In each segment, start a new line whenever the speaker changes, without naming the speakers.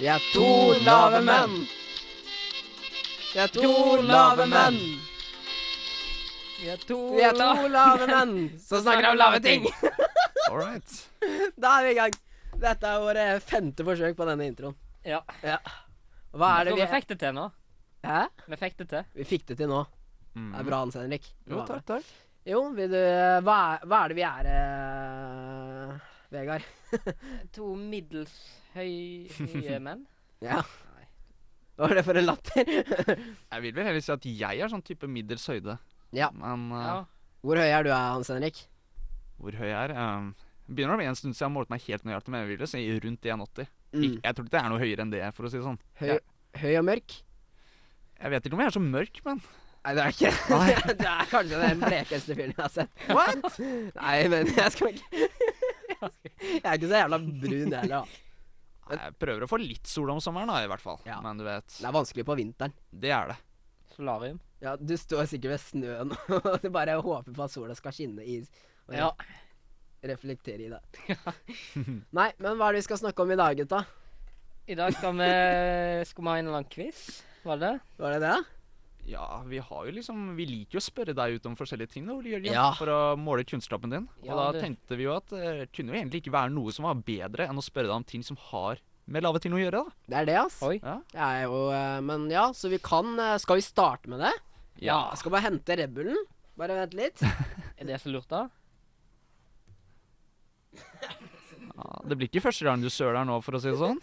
Vi er to lave menn. Vi er to lave menn.
Vi er to,
Vi er to lave menn som snakker om lave ting.
All right.
Da er vi i gang. Dette er våre femte forsøk på denne introen.
Ja.
Hva er det
Og vi
vi
fikk det til nå.
Hæ?
Vi fikk det til.
Vi fikk det til nå.
Mm.
Det er bra, Hans Henrik.
Jo, takk, takk.
Jo, vil du Hva er, hva er det vi er, eh, Vegard?
To middels høy, høye menn.
Ja. Hva var det for en latter?
Jeg vil vel heller si at jeg er sånn type middels høyde.
Ja.
Men eh,
Ja.
Hvor høy er du, eh, Hans Henrik?
hvor høy jeg er um, Begynner å bli en stund siden jeg har målt meg helt nøyaktig, men jeg vil jo si rundt 1,80. Ik-
Mm.
Jeg tror ikke det er noe høyere enn det, for å si det sånn.
Høy, høy og mørk?
Jeg vet ikke om jeg er så mørk, men
Nei, det er ikke det. Du er kanskje den blekeste fyren jeg har sett.
What?
Nei, men jeg skal ikke Jeg er ikke så jævla brun heller, da.
Jeg prøver å få litt sol om sommeren, da, i hvert fall.
Ja.
Men du vet,
Det er vanskelig på vinteren.
det er det.
Solarium.
Ja, Du står sikkert ved snøen og du bare håper på at sola skal skinne i og
Ja.
reflektere i det. Nei, men hva er det vi skal snakke om i dag, gutta?
I dag skal vi Skal vi ha en eller annen quiz, var det det?
Var det det?
Ja, vi har jo liksom Vi liker jo å spørre deg ut om forskjellige ting, da, Ole Jørgen,
Ja.
for å måle kunnskapen din. og
Ja,
da
det-
tenkte vi jo at eh, det kunne jo egentlig ikke være noe som var bedre enn å spørre deg om ting som har med lave ting å gjøre, da.
Det er det, ass.
Oi.
Ja.
Jeg er jo eh, Men ja, så vi kan eh, Skal vi starte med det?
Ja.
Jeg skal bare hente Red Bullen. Bare vent litt.
Er det så lurt, da?
Ja, altså, det blir ikke første gang du søler nå, for å si det sånn.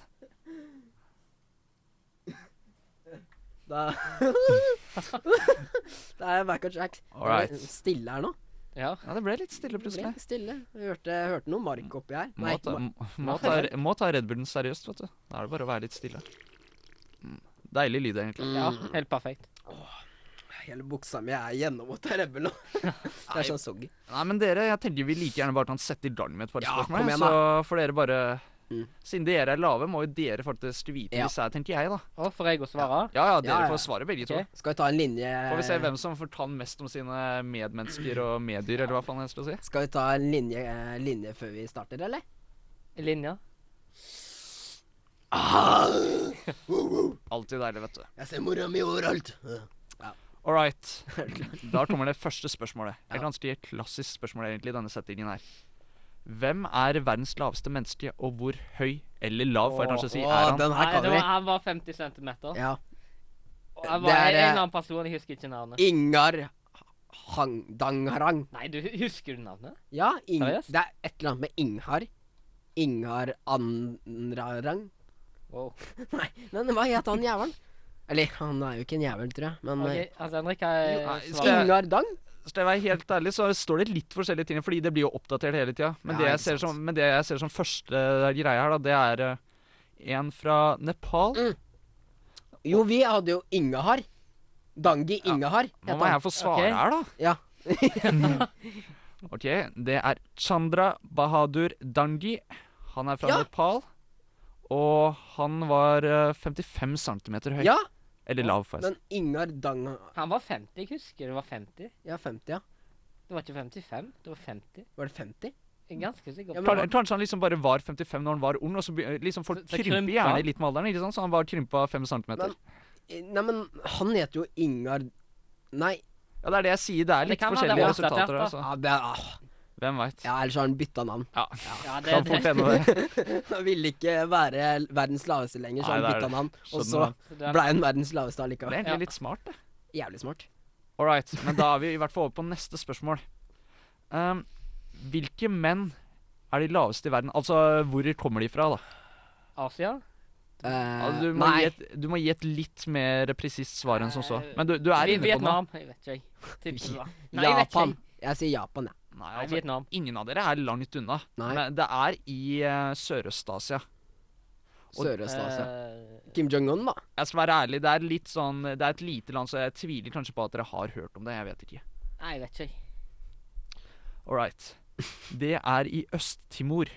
Da Da er jeg back on track.
All right.
Det er Stille her nå.
Ja.
Ja, det ble litt stille
Det ble
plutselig.
Stille. Jeg hørte, jeg hørte noe mark oppi her.
Må ta,
ma-
må- må, ta, må ta Red Bullen seriøst, vet du. Da er det bare å være litt stille. Mm. Deilig lyd, egentlig.
ja. Helt perfekt.
hele buksa mi er gjennomvåt av Red Bull nå. det er sånn soggy.
Nei, men dere, jeg tenker vi like gjerne bare kan sette i gang med et par
Ja,
spørsmål.
kom
jeg,
igjen,
så får dere bare
Mm.
Siden dere er lave, må jo dere faktisk vite
Ja.
hvis jeg, tenker jeg, da.
Og får jeg å svare?
Ja ja, dere
Ja, Eh. ja.
får svare begge
Ok.
to.
Skal vi ta en linje
Får vi se hvem som fortalte mest om sine medmennesker og meddyr, eller hva faen jeg skal si.
Skal vi ta en linje, eh, linje før vi starter, eller?
I linja?
Ah! Alltid deilig, vet du.
Jeg ser mora mi overalt.
All right. Da kommer det første spørsmålet. Et ganske klassisk spørsmål egentlig i denne settingen her. Hvem er verdens laveste menneske, og hvor høy eller lav, får jeg kanskje si,
Åh,
er han?
den her
Nei,
kan
det
vi.
var, han var 50 cm.
Ja.
Og han
det
var
er,
en
eh,
annen person, jeg husker ikke navnet.
Ingar Hang Dangarang.
Nei, du husker du navnet?
Ja, Ing
Seriøst?
det er et eller annet med Inghar. Inghar Andrarang.
Wow.
Nei, men hva het han jævelen? Eller, han er jo ikke en jævel, tror jeg, men eh,
Ok,
okay.
altså, Henrik har
Nei,
eh,
skal jeg-
svart.
Ingar Dang?
Skal jeg være helt ærlig, så står det litt forskjellige ting, fordi det blir jo oppdatert hele tida. Men,
Ja,
det
ikke
jeg ser
sant.
som- men det jeg ser som første eh, greie her, da, det er eh, en fra Nepal.
Mm. Jo, vi hadde jo Ingehar. Dangi Ingehar.
Nå må jeg få svare
Ok.
her, da.
Ja.
Ok, det er Chandra Bahadur Dangi. Han er fra
Ja.
Nepal. Og han var eh, 55 cm høy.
ja,
Eller lav, forresten.
men Ingar Dang
Han var 50, jeg husker det var 50.
Ja, 50, ja.
Det var ikke 55, det var 50.
Var det 50?
Jeg er ganske sikker.
Ja,
på
men-
Kan-
det.
Kanskje han liksom bare var 55 når han var ung, og så be- liksom folk
Så- så
krymper
krympa.
gjerne litt med alderen, ikke sant? så han var krympa 5 cm.
Men- Eh, Nei, men han heter jo Ingar Nei,
Ja, det er det jeg sier. Det er
det
litt
kan være
forskjellige
det er oppdatert,
resultater.
da.
Altså.
ja, det er, ah,
Hvem veit.
ja, ellers har han bytta navn.
Ja.
ja, det,
Kan fort
det.
hende det.
Han ville ikke være verdens laveste lenger, så
Nei,
han
det er
bytta
det.
navn. Og
Skjønner
så
det.
Så det er-
blei han verdens laveste
Det er
allikevel.
egentlig
Ja.
litt smart, det.
Jævlig smart.
All right, men da er vi i hvert fall over på neste spørsmål. Um, hvilke menn er de laveste i verden? Altså, hvor kommer de fra, da?
Asia?
Eh,
Altså, du, må
nei.
gi et, du må gi et litt mer presist svar enn som så. Men du, du er
Vi-
inne på noe.
Vietnam? Jeg vet ikke, jeg. Tipset, da. Nei, jeg vet ikke.
Japan.
jeg.
Jeg sier Japan, jeg.
Nei,
Nei,
altså,
Vietnam.
ingen av dere er langt unna.
Nei.
Men det er i eh, Sørøst-Asia. Og-
Sørøst-Asia.
Eh,
Kim Jong-un, da.
Jeg skal være ærlig, det er litt sånn Det er et lite land, så jeg tviler kanskje på at dere har hørt om det. Jeg vet ikke.
Nei, jeg vet ikke. jeg.
All right. Det er i Øst-Timor.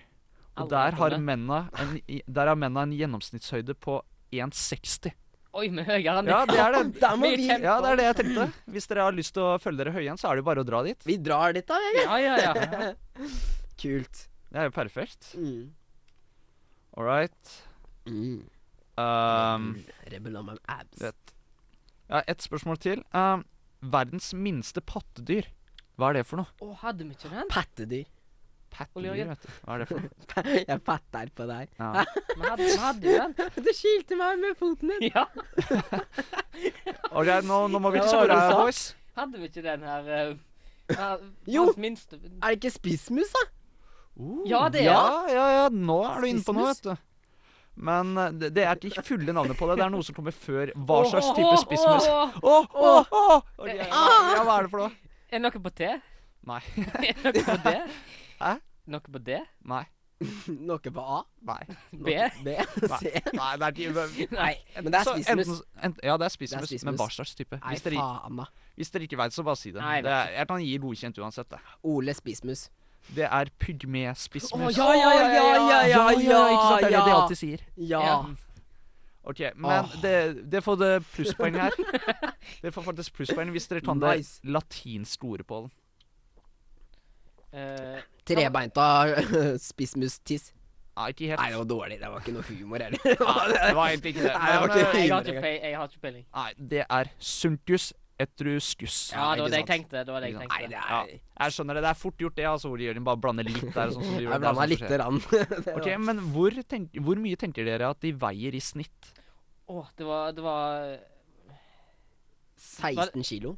Og
Aldri
der
hørt om
har
det.
mennene en, i- der har mennene en gjennomsnittshøyde på 1,60.
Oi, vi er høyere enn
Ja, det er det.
Der må
Mye
vi
tempo.
Ja, det er det jeg tenkte. Hvis dere har lyst til å følge dere høye igjen, så er det jo bare å dra dit.
Vi drar dit, da. Vegard.
Ja, ja, ja.
Kult.
Det er jo perfekt.
Mm.
All right.
Mm.
Um,
Rebel on my abs.
det- ja, ett spørsmål til. Um, verdens minste pattedyr. Hva er det for noe?
Å, hadde vi ikke den?
Pattedyr.
Pattedyr, vet du. Hva er det for noe?
Jeg patter på deg.
Ja.
Vi hadde, vi hadde jo den.
Du kilte meg med foten din.
Ja,
Ok, nå, nå må vi
Ja,
ikke
hva
spørre,
sa du?
boys.
hadde vi ikke den her eh, ja,
Jo.
hans Minste.
Er det ikke spissmus, da?
Ja, det er
Uh, ja, ja, ja, nå er du inne på noe,
Spissmus.
vet du. Men eh, det, det er ikke fulle navnet på det. Det er noe som kommer før. Hva
Åh,
slags
åh,
type spissmus?
åh, åh.
Å, å, å! Ok,
Eh,
Ja, hva er det for noe?
Er det noe på T?
Nei.
Er det noe på D?
Hæ?
Noe på D?
Nei.
Noe på A?
Nei.
Noe
B?
på B? C?
Nei, det er ikke
Nei.
Men det er
Så enten
spissmus.
s- ent- Ja, det er spissmus.
Det er
Men
spissmus.
hva slags type?
Nei,
Hvis dere,
faen, da.
hvis dere ikke veit, så bare si det.
Nei, jeg
det er, jeg kan gi godkjent uansett, det.
Ole Spissmus.
Det er pygmé-spissmus.
Å, ja, ja, ja, ja, ja,
Ikke sant? Det er det de
ja.
alltid sier.
Ja.
Ok, men
Åh.
det, det får det plusspoeng her. Dere får faktisk plusspoeng hvis dere kan det
Nice.
latinske ordet på den.
Eh,
Trebeinta spissmus-tiss.
Nei, ikke helt.
Nei, det var dårlig. Det var ikke noe humor heller.
Nei, det var egentlig ikke det.
Nei, det var
Men,
ikke
eh,
jeg, har
humor
ikke
engang.
pe- jeg har ikke peiling.
Nei, det er suntus etruscus.
Ja,
ikke
det var det jeg
sant.
tenkte. Det var det jeg
Ikke
Nei,
tenkte.
det
Ja,
er
jeg skjønner det. Det er fort gjort, det. altså, hvor de gjør den bare blander litt der. Sånn som de gjør.
Jeg
Det er
blanda
sånt som
lite
skjer.
grann.
Ok, Men hvor, tenk, hvor mye tenker dere at de veier i snitt?
Å, det var, det var
16 kilo.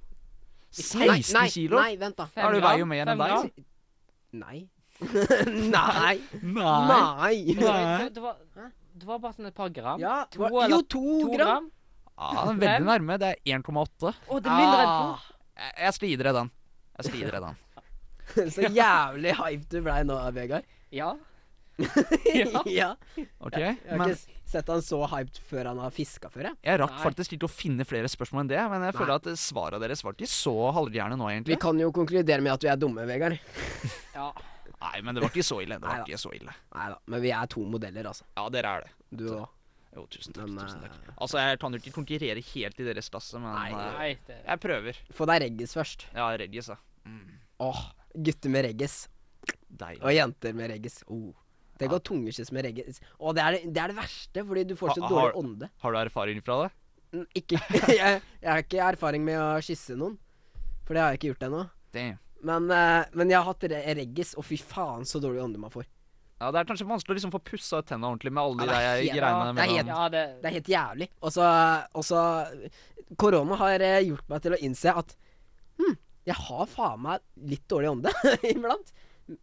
16
nei,
kilo?
Nei, vent, da.
fem
Ja, du
gram,
veier jo mer enn
fem
deg.
gram.
Nei. Nei.
Nei.
Nei.
Nei.
Det, det, var, det var bare sånn et par gram.
Ja,
To
hva-
eller
jo, to gram.
Ja, den er veldig nærme. Det er 1,8.
Å, det er mindre enn to.
Ah,
Jeg- Jeg skal gi dere den. Jeg skal gi dere den.
Så jævlig hype du blei nå, Vegard.
Ja.
ja.
Ja.
Ok,
Jeg har
men
ikke s- sett han så hyped før han har fiska før, jeg.
Jeg rakk
Nei.
faktisk ikke å finne flere spørsmål enn det, men jeg
Nei.
føler at eh, svarene deres var ikke så halvgjerne nå,
Vi
egentlig.
kan jo konkludere med at vi er dumme, Vegard.
ja.
Nei, men det var ikke så ille. Det var
Neida.
ikke så ille.
Nei da, men vi er to modeller, altså.
Ja, dere er det.
Du òg.
Jo, tusen takk.
Men
tusen takk.
eh,
Altså, jeg kan jo ikke konkurrere helt i deres klasse, men
Nei.
eh,
Nei, det
jeg prøver.
få deg reggis først.
Ja, Reggis, ja.
Åh, gutter med reggis.
Deilig.
Og jenter med reggis. Oh. Tenk å tungekysse med reggis. Å, det, er det, det er det verste, fordi du får så
Ha- har-
dårlig ånde.
Har du erfaring fra det?
N- Ikke, jeg, jeg har ikke erfaring med å kysse noen, for det har jeg ikke gjort ennå.
Damn.
Men, eh, men jeg har hatt re- reggis, og fy faen så dårlig ånde man får.
Ja, det er kanskje vanskelig å liksom få pussa ut tenna ordentlig med alle de
Ja, det er
der
helt-
greiene
det er helt-
mellom
Ja, det
Det er helt jævlig. Og så og så- Korona har eh, gjort meg til å innse at hm, jeg har faen meg litt dårlig ånde iblant.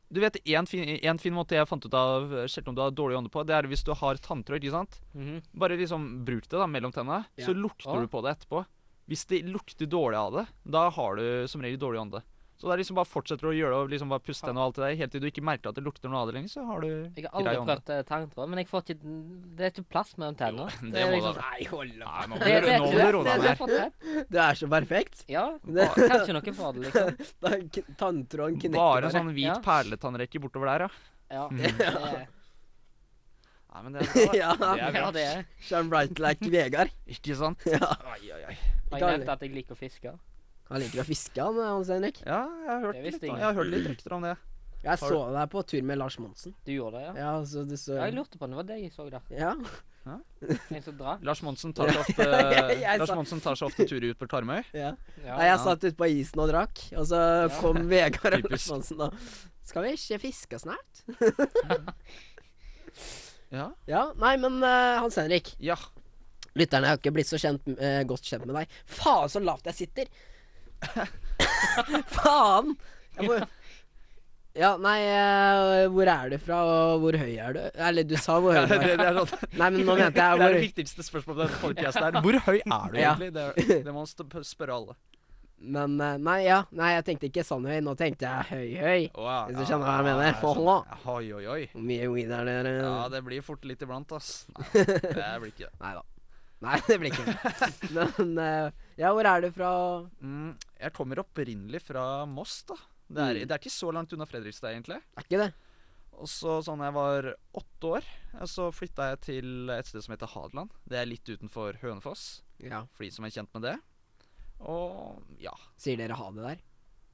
Du vet, en fin, en fin måte jeg fant ut av eh, sjelden om du har dårlig ånde på, det er hvis du har tanntråd, ikke sant?
Mhm.
Bare liksom bruk det da mellom tenna,
Ja.
så lukter
Ah.
du på det etterpå. Hvis det lukter dårlig av det, da har du som regel dårlig ånde. Så det er liksom bare fortsetter å gjøre det og liksom bare puste tenna og alt det der, helt til du ikke merker at det lukter noe av det lenger, så har du
Jeg har
grei
aldri
ånde.
prøvd eh, tanntråd, men jeg får ikke den- Det er ikke plass mellom tennene.
Jo, det
er
må
liksom-
da-
Nei, hold
Nei, nå må
Det
du-
vet
nå må
du,
du roe
det-
deg
det er
ned.
for tett.
Du er så perfekt.
Ja.
Det,
Kanskje noe for det, liksom.
da k- Tanntråden knekker
Bare en sånn hvit
Ja.
perletannrekke bortover der, ja.
Ja.
Mm.
Det er,
Nei, men det er bra,
ja.
da. Det er
ja,
bra.
det er.
Shine bright like Vegard.
Ikke sant?
Ja.
Ai, ai, ai.
Har
Ikke
jeg
alle.
nevnt at jeg liker å fiske?
Han liker å fiske, han eh, Hans Henrik.
Ja, jeg har hørt
Det
litt,
visste
da.
ingen.
jeg har hørt litt rykter om det.
Jeg
Har
så deg på tur med Lars Monsen.
Du gjorde det, ja?
Ja, så du så
Ja, jeg lurte på om det var det jeg så der.
Ja.
En som drar.
Lars Monsen tar så ofte,
jeg- jeg
Lars
sa-
Monsen tar så ofte turer ut på Karmøy.
ja.
Ja.
Nei, jeg
ja.
satt ute på isen og drakk, og så kom Vegard og Lars
Typisk.
Monsen og Skal vi ikke fiske snart?
Ja.
Ja, nei, men eh, Hans Henrik.
ja.
Lytterne har ikke blitt så kjent, eh, godt kjent med deg. Faen så lavt jeg sitter! Faen! Jeg må... Ja, nei, eh, hvor er du fra, og hvor høy er du? Eller, du sa hvor høy
Det,
du var.
det, er sånn.
Nei, men nå mente jeg
Det er
hvor
det viktigste spørsmålet på denne podcasten her. Hvor høy er du
Ja.
egentlig? Det, det må man st- spørre alle.
Men eh, nei, ja. Nei, jeg tenkte ikke sånn høy. Nå tenkte jeg høy, høy.
Å, ja,
Hvis du
ja,
skjønner hva jeg
ja,
mener.
skjønner.
Forholda.
Oi, oi, oi.
Hvor mye weed er det?
Ja,
Ja,
det blir fort litt iblant, ass. Nei, det blir ikke det.
Nei da. Nei, det blir ikke det. Men eh, ja, hvor er du fra?
Mm, jeg kommer opprinnelig fra Moss, da. Det er,
Mm.
det er ikke så langt unna Fredrikstad, egentlig.
Er ikke det?
Og så sånn jeg var åtte år, eh, så flytta jeg til et sted som heter Hadeland. Det er litt utenfor Hønefoss,
Ja.
for de som er kjent med det. Og ja.
Sier dere ha det der?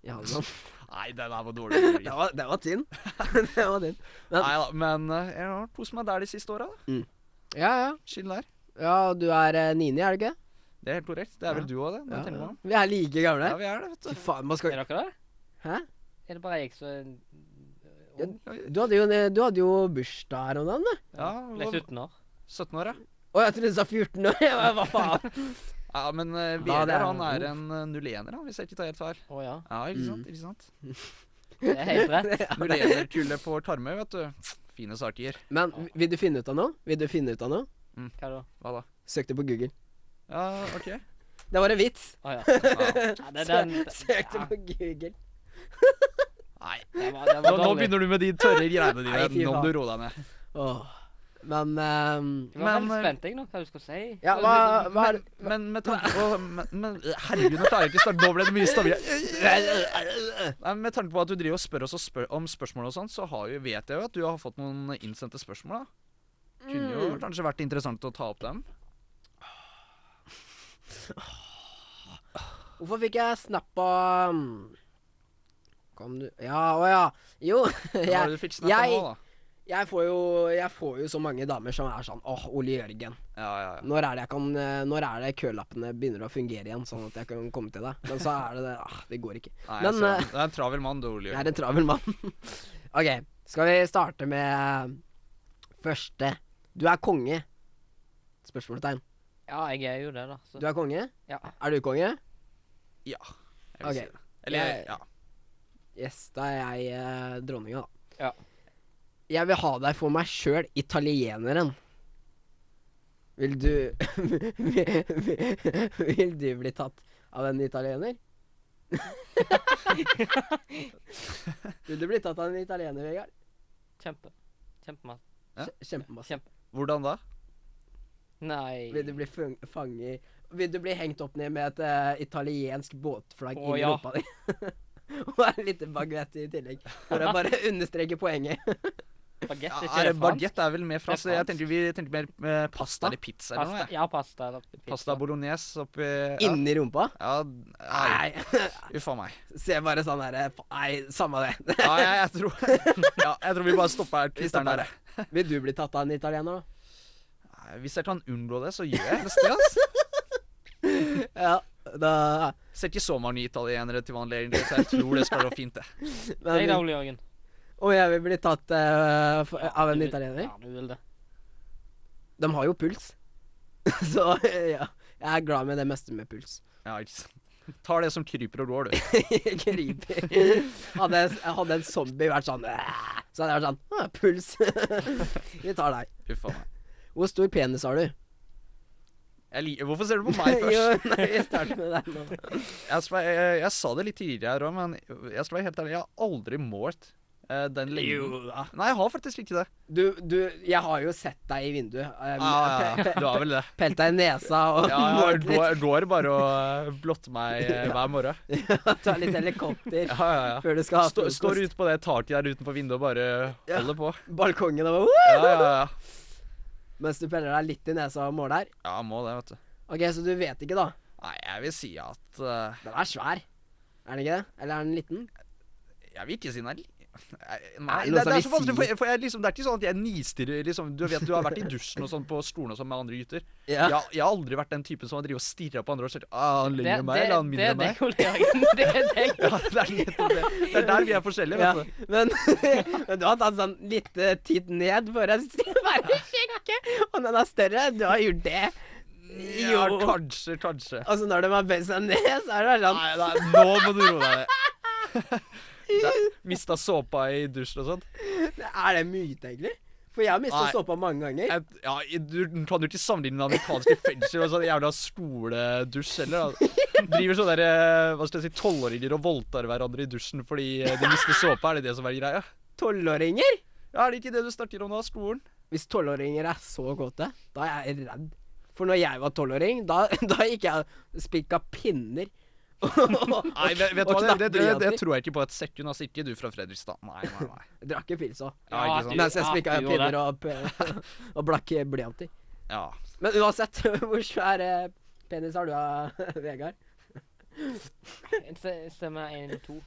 I Hadeland?
Nei, den her var dårlig. Jørgen.
Det var, det var tynn. det var tynn.
Nei da, men eh, jeg har kost meg der de siste åra.
Ja, ja.
Chill der.
Ja, du er eh, Nini, er det ikke?
Det er helt korrekt. Det er vel
Ja.
du òg, det. Når jeg tenker meg om.
Vi er like gamle.
Ja, vi er det,
Fy
vet du.
faen, man skal
Er dere det?
Hæ?
Er det bare jeg som er
Ja,
ung?
Du hadde jo, eh, du hadde jo bursdag her om dagen, du.
Ja,
Ble
hva-
17 år.
17 år, ja.
Å, jeg trodde du sa 14 år. Jeg bare, Hva faen?
ja men uh,
Ja, det
Vegard
er-
han er en eh, 01-er, han, hvis jeg ikke tar helt feil.
Å ja.
Ja, ikke
Mm.
sant? ikke sant?
Det er helt rett.
Ja, det-
01-kullet på Karmøy, vet du. Fine saker.
Men v- vil du finne ut av noe? Vil du finne ut av noe?
Hva da?
Hva da?
Søk det på Google.
Ja, OK.
Det var en vits.
Å ja.
Ja.
ja. Det, den,
Sø- Søk det
ja,
på Google.
Nei.
den var, den
Nå,
var
nå
dårlig.
begynner du med de tørre greiene
Nei,
dine.
fy
Nå må
faen.
du roe deg ned.
Åh. Men ehm,
Jeg var
Men,
veldig
eh,
spent jeg, nå, hva du skal si.
Ja, hva, hva er
Men med tanke på men, men, Herregud, nå klarer jeg ikke snart. Nå ble det mye stabilt. Nei, men Med tanke på at du driver og spør oss og spør om spørsmål og sånn, så har jo, vet jeg jo at du har fått noen innsendte spørsmål. da. Kunne jo kanskje vært interessant å ta opp dem.
Hvorfor fikk jeg snap av mm, Kom du Ja, å ja. Jo,
Ja,
jeg,
du fikk snakka
jeg-
nå, da.
jeg, får jo, jeg får jo så mange damer som er sånn Åh, Ole Jørgen.
Ja, ja, ja.
Når er det jeg kan eh, Når er det kølappene begynner å fungere igjen, sånn at jeg kan komme til deg? Men så er det det ah, Det går ikke.
Nei,
Men,
jeg ser
eh,
den. det er en travel mann, du, Ole.
Jeg
Jørgen.
er en travel mann. OK, skal vi starte med første. Du er konge? Spørsmålstegn.
Ja, jeg er jo det, da. Så.
Du er konge?
Ja.
Er du konge?
Ja. Jeg vil
Ok.
si det. Eller,
Jeg-
ja.
Yes, da er jeg eh, dronninga, da.
Ja.
Jeg vil ha deg for meg sjøl, italieneren. Vil du Vil du bli tatt av en italiener? vil du bli tatt av en italiener, Vegard?
Kjempe. Kjempemann.
Ja.
Kje- Kjempemasse.
Kjempe.
Hvordan da?
Nei
Vil du bli fung- fanget Vil du bli hengt opp ned med et eh, italiensk båtflagg
Å,
inn i
ja.
rumpa di? Og en liten baguett i tillegg. For å bare understreke poenget.
Bagett,
Ja, er
er ikke
det
det fransk?
Baguette er vel mer fransk.
Det er
Jeg tenkte vi tenkte mer eh, pasta eller pizza eller
Pasta,
noe. jeg.
ja, pasta. Eller
Pasta
pizza.
bolognese oppi ja.
Inni rumpa?
ja, nei.
Nei.
Uff a meg.
Se bare sånn herre Nei, samme det.
Ja, jeg, jeg, tror, ja, jeg tror vi bare stopper her. Quiz den
stopper
der.
Vil du bli tatt av en italiener, da?
Nei, Hvis jeg kan unngå det, så gjør jeg helst det. ass.
Ja, da
Ser ikke så mange italienere til vanlig, egentlig, så jeg tror det skal gå fint, det.
Nei da,
men,
Ole Jørgen.
Om jeg vil bli tatt eh, for, av
Du
en
vil-
italiener?
Ja, du vil det.
De har jo puls. Så ja. Jeg er glad med det meste med puls.
Ja, ikke sant. Tar det som kryper og går, du.
Creepy. Hadde, jeg hadde en zombie vært sånn «Æ», Så hadde jeg vært sånn «Å, Puls. Vi tar deg.
Uff a meg.
Hvor stor penis har du?
Jeg liker, hvorfor ser
Oh
du på meg
jo,
først?
nei, vi starter med deg nå.
Jeg, skal, være- jeg, jeg sa det litt tidligere her òg, men jeg skal være helt ærlig, jeg har aldri målt eh, den lengden.
da.
Nei, jeg har faktisk ikke det.
Du, du, jeg har jo sett deg i vinduet. eh,
Ja,
pe-
Ah, ja,
pe-
du har vel det.
Pelt deg i nesa og
Ja, jeg
målt litt.
går, går bare og eh, blotter meg eh, hver morgen.
Ta litt helikopter
Ja, ja, ja.
før du skal ha
Stå, står
frokost.
ute på det taket der utenfor vinduet og bare
Ja.
holder på.
Balkongen og bare, «Woo!»
Ja, ja, ja.
Mens du peller deg litt i nesa og måler her.
Ja, må det, vet du.
Ok, så du vet ikke, da.
Nei, jeg vil si at eh,
Den er svær. Er den ikke det? Eller er den liten?
Jeg vil ikke si nei. Nei, nei
Er det noe
det, det
som
er så
vil
vanskelig, for,
si-
jeg- for jeg, liksom, det er ikke sånn at jeg nistirrer liksom. Du vet, du har vært i dusjen og sånn på skolen og sånn med andre gutter. Jeg, har- jeg har aldri vært den typen som har drevet og stirra på andre og sett ah, han
Det,
ligner meg,
det,
eller han
det
mindre
er
enn
deg,
meg.
Ole Jørgen. Det er deg.
Ja, det, er nettopp det. det er der vi er forskjellige,
Ja,
vet du.
men, men du har tatt sånn lite titt ned for å bare sjekke om den er større. Du har gjort det.
Ja,
Jo.
kanskje, kanskje.
Altså, når de har bøyd seg ned, så er det bare sånn
Nei, nei, nå må du roe deg ned. Mista såpa i dusjen og sånn.
Er det myte, egentlig? For jeg har mista
Nei.
såpa mange ganger.
Jeg- Ja, i- du kan jo ikke sammenligne med amerikanske fengsler og sånn jævla skoledusj heller. da. Driver sånne der, eh, hva skal jeg si, tolvåringer og voldtar hverandre i dusjen fordi eh, de mister såpe. Er det det som er greia?
Tolvåringer?
Ja, er det ikke det du snakker om nå, skolen?
Hvis tolvåringer er så kåte, da er jeg redd. For når jeg var tolvåring, da, da gikk jeg og spikka pinner.
Nei, vet, vet du
og
hva, det, det, det,
knappejenter.
det tror jeg ikke på et sekund. Altså, ikke du fra Fredrikstad. Nei, nei, nei.
Drakk jo pils òg.
Ja, ikke sant.
Mens jeg
ja,
spikka
du gjorde
pinner
det.
og, p- og blakk blyanter.
Ja.
Men uansett, hvor svær eh, penis har du, eh, Vegard?
Se- Stemmer én, to.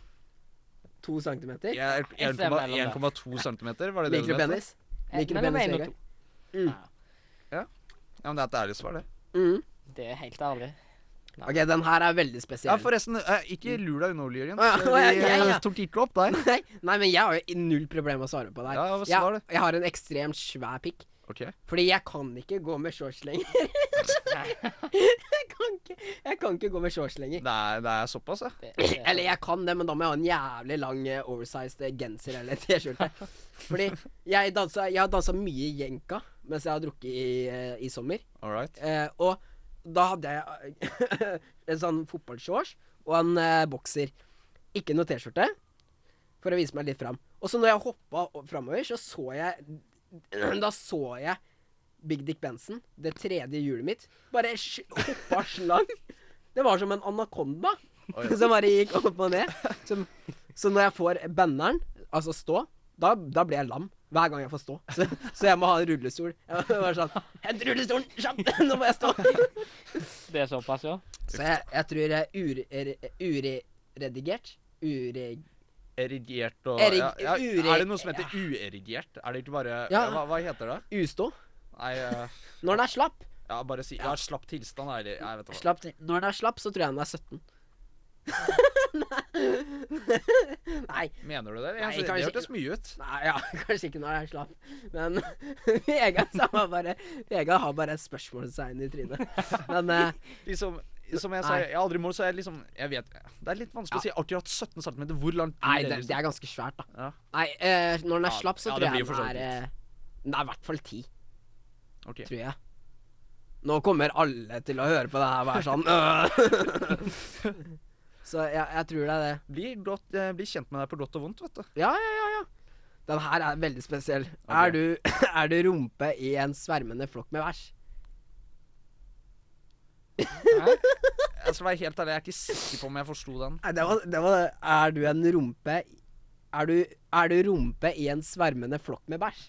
To centimeter?
Jeg-
Jeg ser
1,2
mellom
1,2 centimeter, var det det du mente?
Mikropenis?
Eh,
Mikropenis,
mellom en og
Vegard.
to.
Mm.
Ja.
Ja. Ja, men det er et ærlig svar, det.
Mm.
Det er helt ærlig.
Ok, den her er veldig spesiell.
Ja, forresten, eh, ikke lur deg unna, Ole Jørgen.
Å ja,
for
å ja,
vi,
ja, ja.
eh, tok ikke opp deg.
Nei, nei, men jeg har jo null problem med å svare på det her.
Ja, hva
Jeg-
svar det?
Jeg har en ekstremt svær pikk.
Ok.
Fordi jeg kan ikke gå med shorts lenger. jeg, kan ikke, jeg kan ikke gå med shorts lenger.
Det er, det er såpass, ja.
Det, det,
Eller jeg kan det, men da må jeg ha en jævlig lang eh, oversized eh, genser eller T-skjorte. Fordi jeg, dansa, jeg har dansa mye i jenka mens jeg har drukket i, eh, i sommer.
All right.
Eh, og da hadde jeg en sånn fotballshorts og en eh, bokser. Ikke noe T-skjorte, for å vise meg litt fram. Og så når jeg hoppa o- framover, så så jeg Da så jeg Big Dick Benson, det tredje hjulet mitt, bare sj- hoppa slang. Det var som en anakonda
Oi.
som bare gikk opp og ned. Som, så når jeg får banneren, altså stå, da, da blir jeg lam. Hver gang jeg får stå. Så, så jeg må ha en rullestol. Jeg var bare sånn Hent rullestolen! Kjapt! Nå må jeg stå!
det er såpass, ja.
Så jeg, jeg tror jeg er ure- er- ureredigert. Ure...
Erigert og
Erig-
ja, ja.
ure-
Er det noe som heter uerigert? Er det ikke bare
Ja.
hva, hva heter det?
Ustå.
Nei, eh,
Når den er slapp,
ja, bare si ja, slapp tilstand, er det Jeg vet ikke.
slapp til. Når den er slapp, så tror jeg den er 17. Nei.
Mener du det?
Nei,
Jeg, det
kanskje-
hørtes mye ut.
Nei, ja, kanskje ikke når den er slapp. Men Vegard sa han bare Vegard har bare et spørsmålstegn i trynet. Men eh,
Liksom, som jeg sa,
Nei.
jeg har aldri målt, så jeg liksom Jeg vet Det er litt vanskelig å si akkurat 17 cm. Hvor langt
Nei,
blir
det, det
liksom?
er ganske svært, da.
Ja.
Nei, eh, når den er
Ja,
slapp, så
ja,
tror
det blir
jeg
for sånn så
den er eh, Den er i hvert fall ti,
liksom? Ok.
tror jeg. Nå kommer alle til å høre på det her og være sånn øh. Så jeg, jeg tror det er det.
Bli, godt, eh, bli kjent med deg på godt og vondt, vet du.
Ja, ja, ja. ja. Den her er veldig spesiell.
Ok.
Er, du, er du rumpe i en svermende flokk med bæsj?
Jeg skal være helt ærlig, jeg er ikke sikker på om jeg forsto den.
Nei, det var, det var Er du en rumpe er du, er du rumpe i en svermende flokk med bæsj?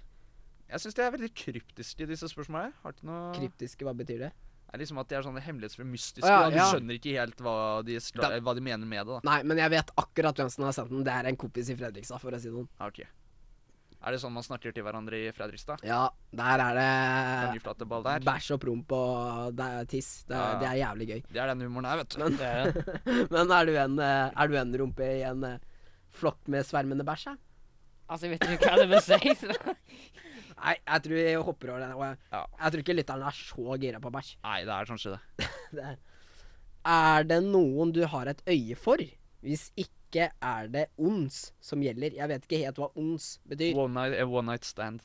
Jeg syns de er veldig kryptiske, disse spørsmålene. her. Har ikke noe
Kryptiske, hva betyr det?
Det er liksom at de er sånne hemmelighetsfulle, mystiske.
Å, ja,
da. Du
ja.
skjønner ikke helt hva de, skal,
Da-
hva de mener med det. da.
Nei, men jeg vet akkurat hvem som har sendt den. Det er en kompis i Fredrikstad, for å si sånn. noen.
Ja, ok. Er det sånn man snakker til hverandre i Fredrikstad?
Ja, der er det
Kongeplatteball der.
bæsj og promp og det er tiss. Det,
Ja,
er-
ja.
det er jævlig gøy.
Det er den humoren her, vet du.
Det er det.
Men er du en, eh, er du en rumpe i en eh, flokk med svermende bæsj? ja?
Altså, jeg vet ikke hva det vil si. så-
Nei, jeg tror jeg hopper over den. og Jeg,
Ja.
jeg tror ikke lytterne er så gira på bæsj.
Nei, det er kanskje det.
Det- Er det noen du har et øye for? Hvis ikke er det ons som gjelder. Jeg vet ikke helt hva ons betyr.
One night, eh, one night stand.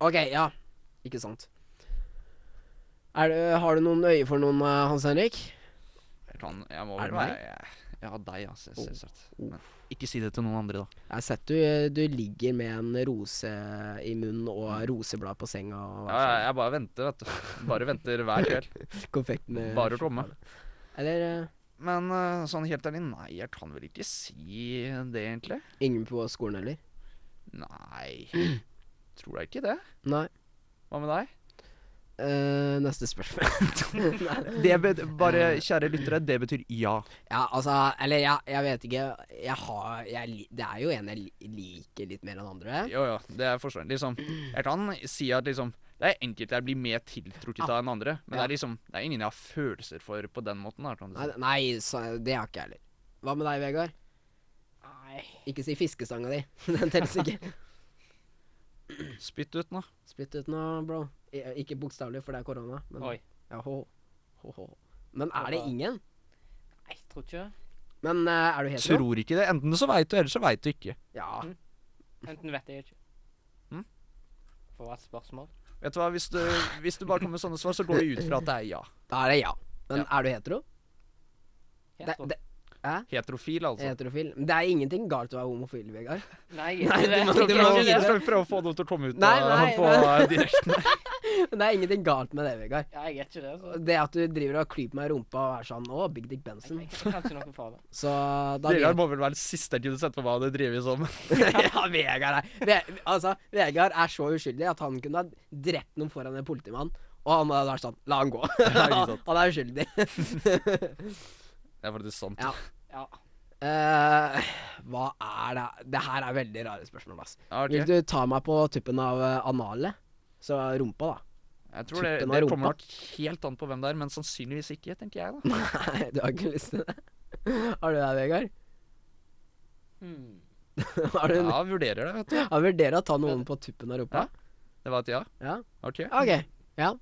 Ok, ja. Ikke sant. Er det, har du noen øye for noen, eh, Hans Henrik?
Jeg kan Jeg må
Er det
vel
meg?
være jeg, Ja, deg, ja. selv- Selvsagt. Men ikke si det til noen andre, da.
Jeg har sett du, du ligger med en rose i munnen og roseblad på senga. Og
Ja, jeg, jeg bare venter, vet du. Bare venter hver kveld.
Konfekt sånn med
Bare å komme.
Eller eh,
Men eh, sånn helt ærlig, nei, jeg kan vel ikke si det, egentlig.
ingen på skolen heller?
Nei. Tror jeg ikke det.
Nei.
Hva med deg?
Eh, neste spørsmål. Nei.
Det bet bare, kjære lyttere, det betyr ja.
Ja, altså Eller jeg, jeg vet ikke. Jeg har jeg, li- Det er jo en jeg li- liker litt mer enn andre.
Jo, jo, det er forståelig. Liksom, jeg kan si at liksom det er enkelte jeg blir mer tiltrukket
Ah,
av enn andre, men det er liksom, det er ingen jeg har følelser for på den måten. da, Kan du
Nei,
si.
nei så, det har ikke jeg heller. Hva med deg, Vegard?
Nei.
Ikke si fiskestanga di. Den telles ikke.
Spytt ut nå.
Spytt ut nå, bro. I- Ikke bokstavelig, for det er korona. Men,
Oi.
Ja, ho, ho, ho. men er det ingen?
Nei, jeg tror ikke det.
Men eh, er du hetero?
Tror ikke det. Enten så veit du, eller så veit du ikke.
Ja.
Enten vet jeg ikke.
Hm?
For et spørsmål.
Vet du hva, hvis du, hvis du bare kommer med sånne svar, så går vi ut fra at det er ja.
Da er det ja. Men er du hetero?
Jeg
Det,
tror-
det,
Heterofil, altså.
heterofil. Men det er ingenting galt å være homofil, Vegard.
Nei,
Nei,
jeg
du
vet
må-
ikke
du
Du
må
må,
det.
videre.
skal vi prøve å få noe til å komme ut
Nei,
av-
nei,
på direkten.
Det er ingenting galt med det, Vegard.
Ja, jeg er ikke det, altså. så jeg,
Det at du driver og klyper meg i rumpa og er sånn Å, Big Dick Benson.
jeg, jeg kan ikke noe for det.
Så da vet-
Vegard må vel være den siste jeg kunne sett for meg hadde drevet som.
ja, Vegard er Ve Altså, Vegard er så uskyldig at han kunne ha drept noen foran en politimann. Og han hadde vært sånn La han gå.
ikke sant.
han er uskyldig.
Det er faktisk sant.
Ja.
Ja.
Eh, hva er det Det her er veldig rare spørsmål, ass.
Ja, ok.
Vil du ta meg på tuppen av eh, anale? Så rumpa, da.
Jeg tror det,
Tuppen av
det
rumpa.
kommer nok helt an på hvem det er, men sannsynligvis ikke, tenker jeg. da.
Nei, du har ikke lyst til det. Har du det, Vegard?
Hmm.
Har du
Ja, vurderer det, vet du.
Jeg vurderer å ta noen på tuppen av rumpa.
Det var et ja.
Ja.
Ok.
OK. Ja.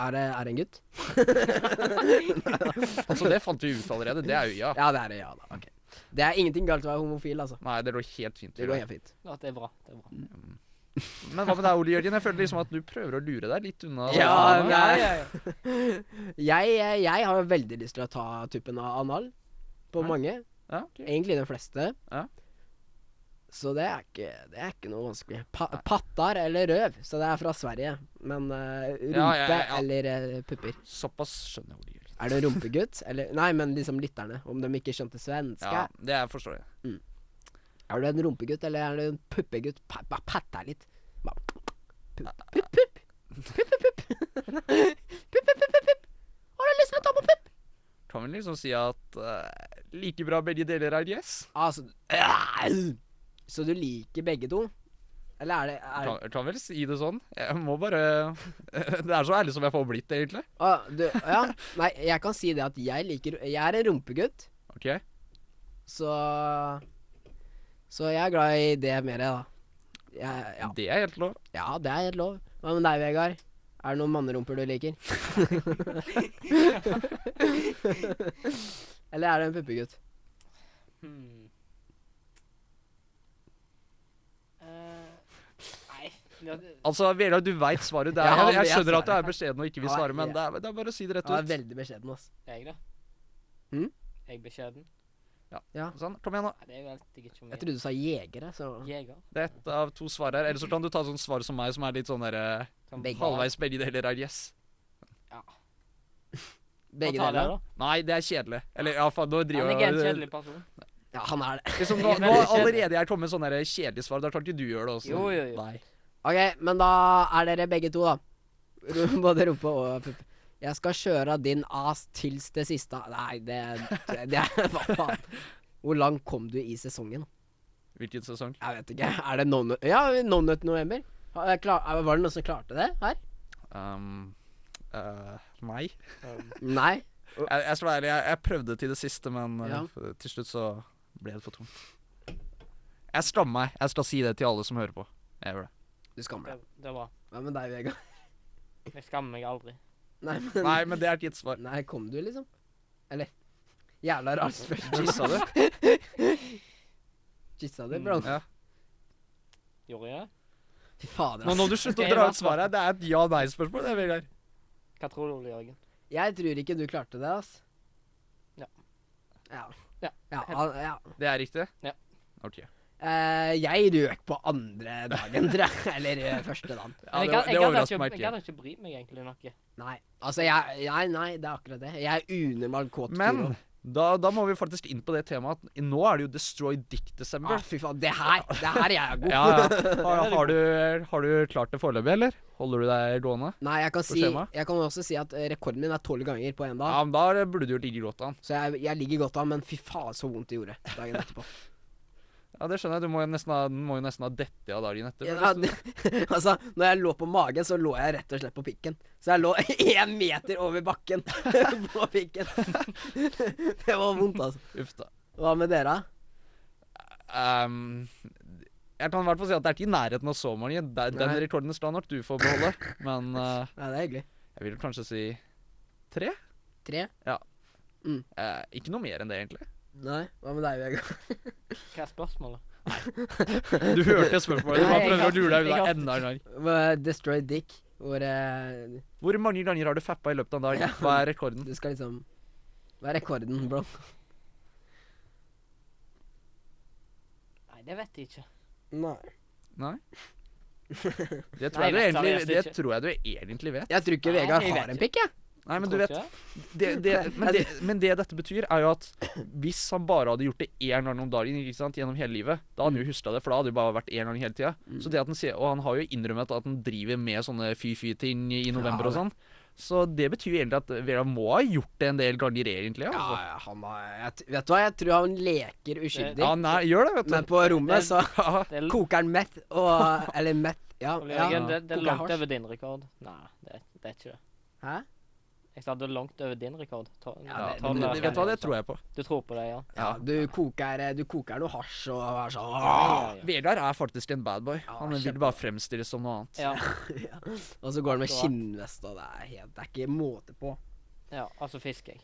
Er det, er det en gutt?
Altså, det fant vi ut allerede. Det er jo ja.
Ja, det er det. Ja da. Ok. Det er ingenting galt å være homofil, altså.
Nei, det lå helt fint.
Det
til
går
det.
helt fint.
Ja, det er bra. det er bra.
Men hva med deg, Ole Jørgen? Jeg føler liksom at du prøver å lure deg litt unna.
Ja,
sånn,
men- nei.
ja, ja.
Jeg, eh, jeg har jo veldig lyst til å ta tuppen av anal på
Ja.
mange.
ja, ok.
Egentlig de fleste.
Ja.
Så det er ikke, det er ikke noe vanskelig. Pa pattar eller røv, så det er fra Sverige. Men eh, rumpe
Ja, ja, ja, ja.
eller eh, pupper.
Såpass skjønner jeg, Ole Jørgen.
Er du rumpegutt? Eller Nei, men liksom lytterne. Om de ikke skjønte svensk.
Ja, det er- forstår jeg.
Er du en rumpegutt eller er du en puppegutt? Pa bare pat deg litt. Bare pup, pup, pup, pup. Pup, pup, pup, pup. Pup, pup, pup, pup, pup. Har du lyst til å ta på pupp?
Kan vel liksom si at eh, like bra begge deler er yes?
Altså øh, Så du liker begge to? Eller er det er,
Kan, kan vel si det sånn. Jeg må bare Det er så ærlig som jeg får blitt, egentlig.
å, du, Ja. Nei, jeg kan si det at jeg liker Jeg er en rumpegutt,
Ok,
så Så jeg er glad i det mer, da. Jeg, ja.
Det er helt lov.
ja, det er helt lov. Hva med deg, Vegard? Er det noen mannerumper du liker? Eller er det en puppegutt?
Hmm. Eh, nei ja, det-
Altså, Vegard, du veit svaret. Det er,
Ja, han
jeg, jeg
vet
skjønner at du
svaret.
er beskjeden og ikke vil
Ja,
svare, men
ja.
det er, det er bare å si det rett
Han er
ut.
veldig beskjeden, ass.
Jeg, da?
Hmm?
Jeg beskjeden?
Sånn, Kom igjen, da.
Nei, det er jo helt ikke så mye.
Jeg trodde du sa jegere, så
Jeger.
Det er ett av to svar her. Eller så kan du ta sånn svar som meg, som er litt sånn derre
Kan
Begge.
halvveis begge deler er yes.
Begge
ta det,
deler.
da.
Nei, det er kjedelig. Eller ja, faen, nå driver
Han er ikke en kjedelig person.
Ja, han er det.
Liksom, nå,
Jeg er
nå
veldig kjedelig.
allerede jeg kommet med sånne der kjedelige svar. Da klarte ikke du gjøre det også.
Jo, jo, jo.
Nei.
OK, men da er dere begge to, da. Ru- Både rumpe og pupp. Jeg skal kjøre din ass tils det siste Nei, det, det, det Hva faen? Hvor langt kom du i sesongen?
Hvilken sesong?
Jeg vet ikke. Er det no nut Ja, no nut november. Har jeg klar- Var det noen som klarte det her?
Um, eh, nei.
Nei?
Jeg, jeg skal være ærlig, jeg, jeg prøvde til det siste, men eh,
Ja.
f- til slutt så ble det for tomt. Jeg skammer meg. Jeg skal si det til alle som hører på. Jeg gjør det.
Du skammer
Det,
deg.
det er bra.
Hva med deg, Vegard?
Jeg skammer meg aldri.
Nei, men
Nei, men det er ikke et svar.
Nei, kom du, liksom? Eller Jævla rart spørsmål.
Kyssa du? Mm,
Kyssa du, bro?
Ja.
Gjorde jeg det?
Fy fader,
Nå må
ass.
du slutte
Ok,
å dra
hva
ut svaret. her. Det er et ja-nei-spørsmål. det, Vegard.
Hva tror du, Ole Jørgen?
Jeg tror ikke du klarte det, ass.
Ja.
Ja.
Ja.
Ja, han- ja.
Det er riktig?
Ja.
Ok.
Eh, jeg røk på andre dagen, tror jeg. Eller eh, første dagen.
Ja,
Men
det, det
hadde
overrasker
ikke-
meg
Jeg
ikke.
hadde ikke brydd meg egentlig noe.
Nei. Altså, jeg Nei, nei, det er akkurat det. Jeg uner meg kåt
Men
Turo.
da, da må vi faktisk inn på det temaet at nå er det jo Destroy Dick December.
Ah, fy faen, det her Det her er jeg god
Ja, ja. Har, har, du, har du klart det foreløpig, eller? Holder du deg gående?
Nei, jeg kan, si,
skjema?
jeg kan også si at eh, rekorden min er tolv ganger på én
Ja,
dag.
men Da burde du jo ligge godt an.
Så jeg, jeg ligger godt an, men fy faen så vondt det gjorde dagen etterpå.
Ja, Det skjønner jeg. Du må jo nesten ha, den må jo nesten ha dette av dagen etter.
Ja, det, altså, når jeg lå på magen, så lå jeg rett og slett på pikken. Så jeg lå én meter over bakken på pikken. det var vondt, altså.
Uff da.
Hva med dere?
Ehm, jeg kan i hvert fall si at det er ikke i nærheten av så mange. Det- Den
Nei.
rekorden skal nok du få beholde. Men eh,
Ja, det er hyggelig.
jeg vil kanskje si tre.
Tre?
Eh, ikke noe mer enn det, egentlig.
Nei. Hva med deg, Vegard?
Hva er spørsmålet?
Du hørte spørsmålet. Du
Nei,
bare
jeg
prøver å
kan-
lure deg
jeg
unna
kan-
enda en gang.
Hva- Destroy Dick, hvor eh,
Hvor mange ganger har du fappa i løpet av en dag? Hva er rekorden?
du skal liksom Hva er rekorden, bro?
Nei, det vet jeg ikke.
Nei.
Nei? Det tror jeg, du
Nei, jeg vet
egentlig,
seriøst
det
ikke.
tror jeg du egentlig vet.
Jeg tror ikke
Nei,
Vegard
jeg vet
har en pikk, jeg.
Nei, men du
Tror
vet
ikke det.
det, det, men, det, men det dette betyr, er jo at hvis han bare hadde gjort det én gang om dagen ikke sant, gjennom hele livet, da hadde han jo huska det, for da hadde det bare vært én gang hele tida. Så det at han sier, Og han har jo innrømmet at han driver med sånne fy-fy-ting i november og
Ja.
sånn. Så det betyr jo egentlig at Vera må ha gjort det en del ganger, egentlig.
Ja,
Altså.
ja, han har jeg, t- Vet du hva, jeg tror han leker
Ja,
Eh,
uskyldig.
nei, gjør det, vet
Men
du.
på rommet så
Ja,
Det er l-
koker han meth og Eller meth Ja,
Ole
ja.
Jørgen, det, det er
Koker
langt
hasj.
over din rekord. Nei, det, det er ikke det.
Hæ?
Jeg sa det er langt over din rekord. Ta,
Ja,
ta
det-
den
men-
der
men-
vet du hva, det tror jeg på.
Du tror på det, ja?
Ja, du koker, eh, du koker noe hasj og er sånn
Ja, ja.
Vegard er faktisk en badboy.
Ja,
Han vil
kjempe.
bare fremstilles som noe annet.
ja.
Og så går han med
Akkurat.
kinnvest, og det er, helt, det er ikke måte på.
ja altså fisk, jeg.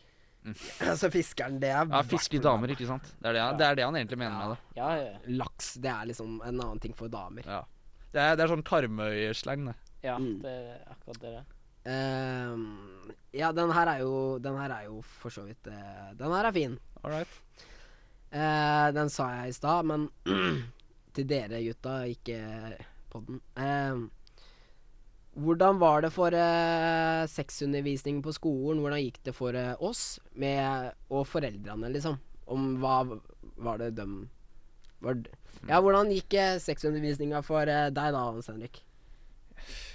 Så fiskeren, det er
Ja, Fiske damer, ikke sant? Det er det, han- det, er det han egentlig mener
Ja.
med det.
Ja, ja, ja.
Laks, det er liksom en annen ting for damer.
Ja. Det er, det er sånn Karmøy-slang, det.
ja
Mm.
det er akkurat det. det.
Ehm, ja, den her er jo Den her er jo for så vidt eh, Den her er fin.
All right.
Eh, den sa jeg i stad, men til dere gutta, ikke podden. Ehm, hvordan var det for eh, sexundervisning på skolen? Hvordan gikk det for eh, oss med, og foreldrene, liksom? Om hva var det dem var d- Ja, hvordan gikk eh, sexundervisninga for eh, deg da, Hans Henrik?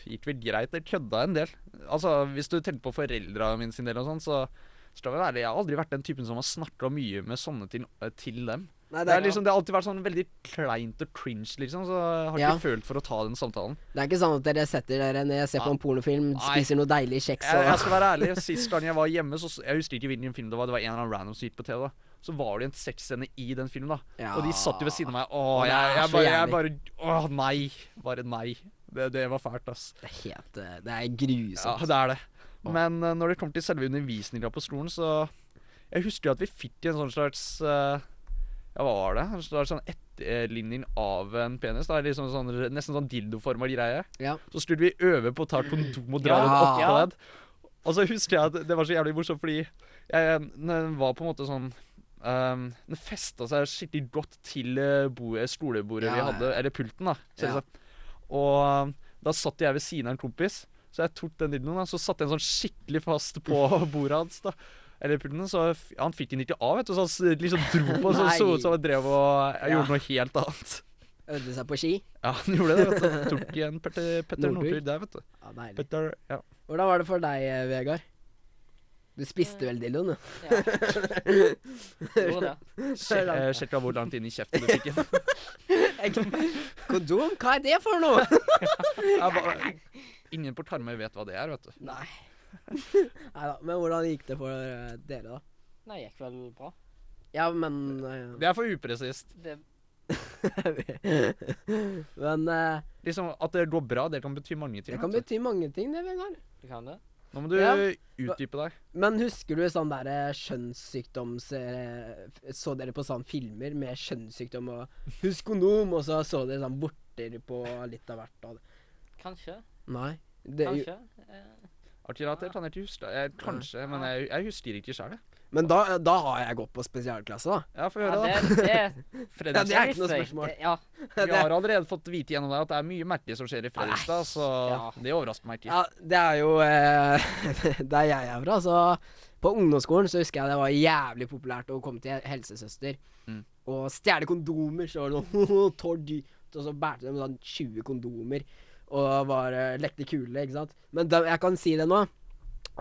Gikk vel greit. Det kødda en del. Altså, Hvis du tenker på foreldra mine sin del og sånn, så skal vi være ærlig, Jeg har aldri vært den typen som har snakka mye med sånne ting eh, til dem.
Nei,
Det, er liksom, det har alltid vært sånn veldig kleint og cringe, liksom. Så jeg har
Ja.
ikke følt for å ta den samtalen.
Det er ikke sånn at dere setter dere ned, ser
Ah,
på en pornofilm, spiser noe deilig kjeks
Jeg,
og
jeg skal være ærlig, Sist gang jeg var hjemme, så jeg husker ikke hvilken film det var. Det var en eller annen random som gikk på TV. da Så var det en sexscene i den filmen, da.
Ja.
Og de satt jo ved siden av meg. Å,
det
jeg,
er
jeg,
så
bare, jeg bare Å, nei. Bare nei. Det, det var fælt, ass.
Det er helt eh, Det er
Ja,
grusomt.
det er det. Men eh, når det kommer til selve undervisninga på skolen, så Jeg husker jo at vi fikk en sånn slags eh, Ja, hva var det? En slags sånn etterligning av en penis. Da. Liksom sånn, nesten sånn dildoforma greie.
Ja.
Så skulle vi øve på å ta kondom og dra
Ja.
den opp på
Ja.
den. Og så husker jeg at det var så jævlig morsomt, fordi jeg, eh, den var på en måte sånn um, Den festa seg skikkelig godt til eh, bo, skolebordet
Ja,
vi
ja, ja.
hadde, eller pulten, da.
Ja.
selvsagt. Og um, da satt jeg ved siden av en kompis, så jeg tok den dildoen, da, så satte jeg den sånn skikkelig fast på bordet hans. da eller pulten, så f- Han fikk den ikke av, vet du, så han s- liksom dro på så
Nei.
så ut som han drev og jeg
Ja.
gjorde noe helt annet.
Ødde seg på ski.
Ja, han gjorde det, vet du. Tok igjen Petter, Petter
Nordby.
Nordby der, vet du.
Ja, deilig.
Petter, ja.
Hvordan var det for deg, eh, Vegard? Du spiste vel dildoen, du?
Ja. Gjorde det.
Sje- eh, Sjekka hvor langt inn i kjeften du fikk den.
Kondom? Hva er det for noe?
Jeg bare- Ingen på Karmøy vet hva det er, vet du.
Nei. Nei da. Men hvordan gikk det for eh, dere, da?
Nei, gikk vel bra.
Ja, men eh,
Det er for upresist.
Det,
Men eh,
Liksom, At det går bra, det kan bety mange ting.
det kan
vet
bety mange ting, det, Vegard.
du kan det.
du. Nå må du
Ja.
utdype deg.
Men husker du sånn der eh, kjønnssykdoms... eh, f- Så dere på sånne filmer med kjønnssykdom og Husk kondom! Og så så dere sånn vorter på litt av hvert. Og
Kanskje.
Nei. Det, er jo-
Kanskje. Eh,
Akkurat det kan jeg ikke huske. Jeg, kanskje, men jeg, jeg husker ikke sjøl.
men da, da har jeg gått på spesialklasse, da.
Ja, få
Ja,
høre,
det,
da.
det,
Ja, det er
Fredrikstad.
ikke noe
visste jeg.
spørsmål.
Det- Ja,
Vi har allerede fått vite gjennom deg at det er mye merkelig som skjer i Fredrikstad,
Ja.
så det overrasker meg ikke.
Ja, det er jo eh, Der jeg er fra, så På ungdomsskolen så husker jeg det var jævlig populært å komme til helsesøster
Mm.
og stjele kondomer. Så var det noe tolv dyrt, og så bærte de sånn 20 kondomer og var eh, lekte kule, ikke sant. Men dem- jeg kan si det nå.